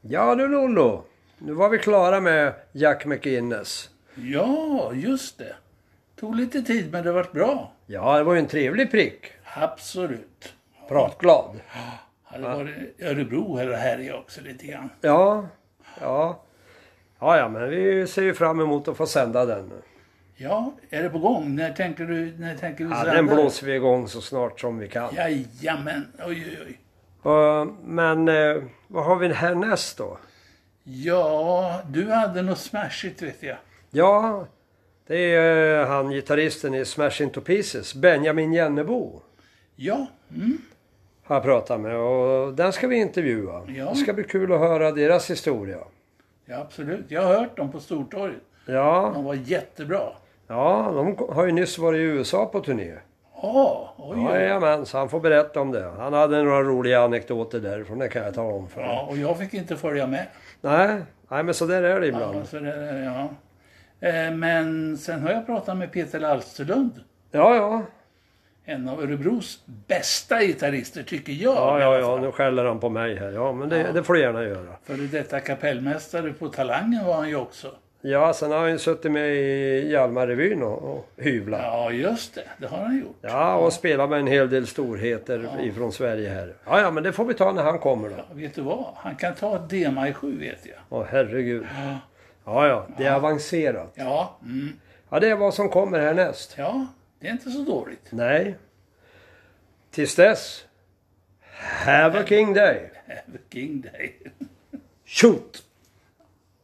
Ja du Lollo, nu var vi klara med Jack McInnes. Ja, just det. Tog lite tid men det vart bra. Ja, det var ju en trevlig prick. Absolut. Pratglad. Hade varit Örebro här och härjat också lite grann. Ja, ja. Ja, ja, men vi ser ju fram emot att få sända den. Ja, är det på gång? När tänker du, när tänker du Ja, sända den det? blåser vi igång så snart som vi kan. Jajamän, oj oj oj. Och, men eh, vad har vi härnäst då? Ja, du hade något smashigt vet jag. Ja, det är eh, han gitarristen i Smash Into Pieces, Benjamin Jennebo. Ja, mm. Har jag pratat med och den ska vi intervjua. Ja. Det ska bli kul att höra deras historia. ja absolut. Jag har hört dem på Stortorget. Ja, De var jättebra. ja, de har ju nyss varit i USA på turné. Ja, oj oj. Ja, Jajamän, så han får berätta om det. Han hade några roliga anekdoter därifrån, det kan jag tala om för dig. och jag fick inte följa med. Nej, nej, men så där är det ibland. Ja, så det, ja. Eh, Men sen har jag pratat med Peter Alsterlund. Ja, ja, En av Örebros bästa gitarrister tycker jag. ja, i ja, alla ja. fall. nu skäller han på mig här. Ja, men det, det får du gärna göra. Före detta kapellmästare på Talangen var han ju också. Ja, sen har han ju suttit med i Hjalmarrevyn och, och hyvlat. Ja. Ja, just det. Det har han gjort. och spelat med en hel del storheter ifrån Sverige här. Ja, ja, men det får vi ta när han kommer då. Vet du vad? Han kan ta ett DMA i sju vet jag. Åh, herregud. Ja, ja, det är avancerat. Ja, mm. Ja, det är vad som kommer härnäst. ja, det är inte så dåligt. Nej. Tills dess. Have a king day. King Day. Shoot!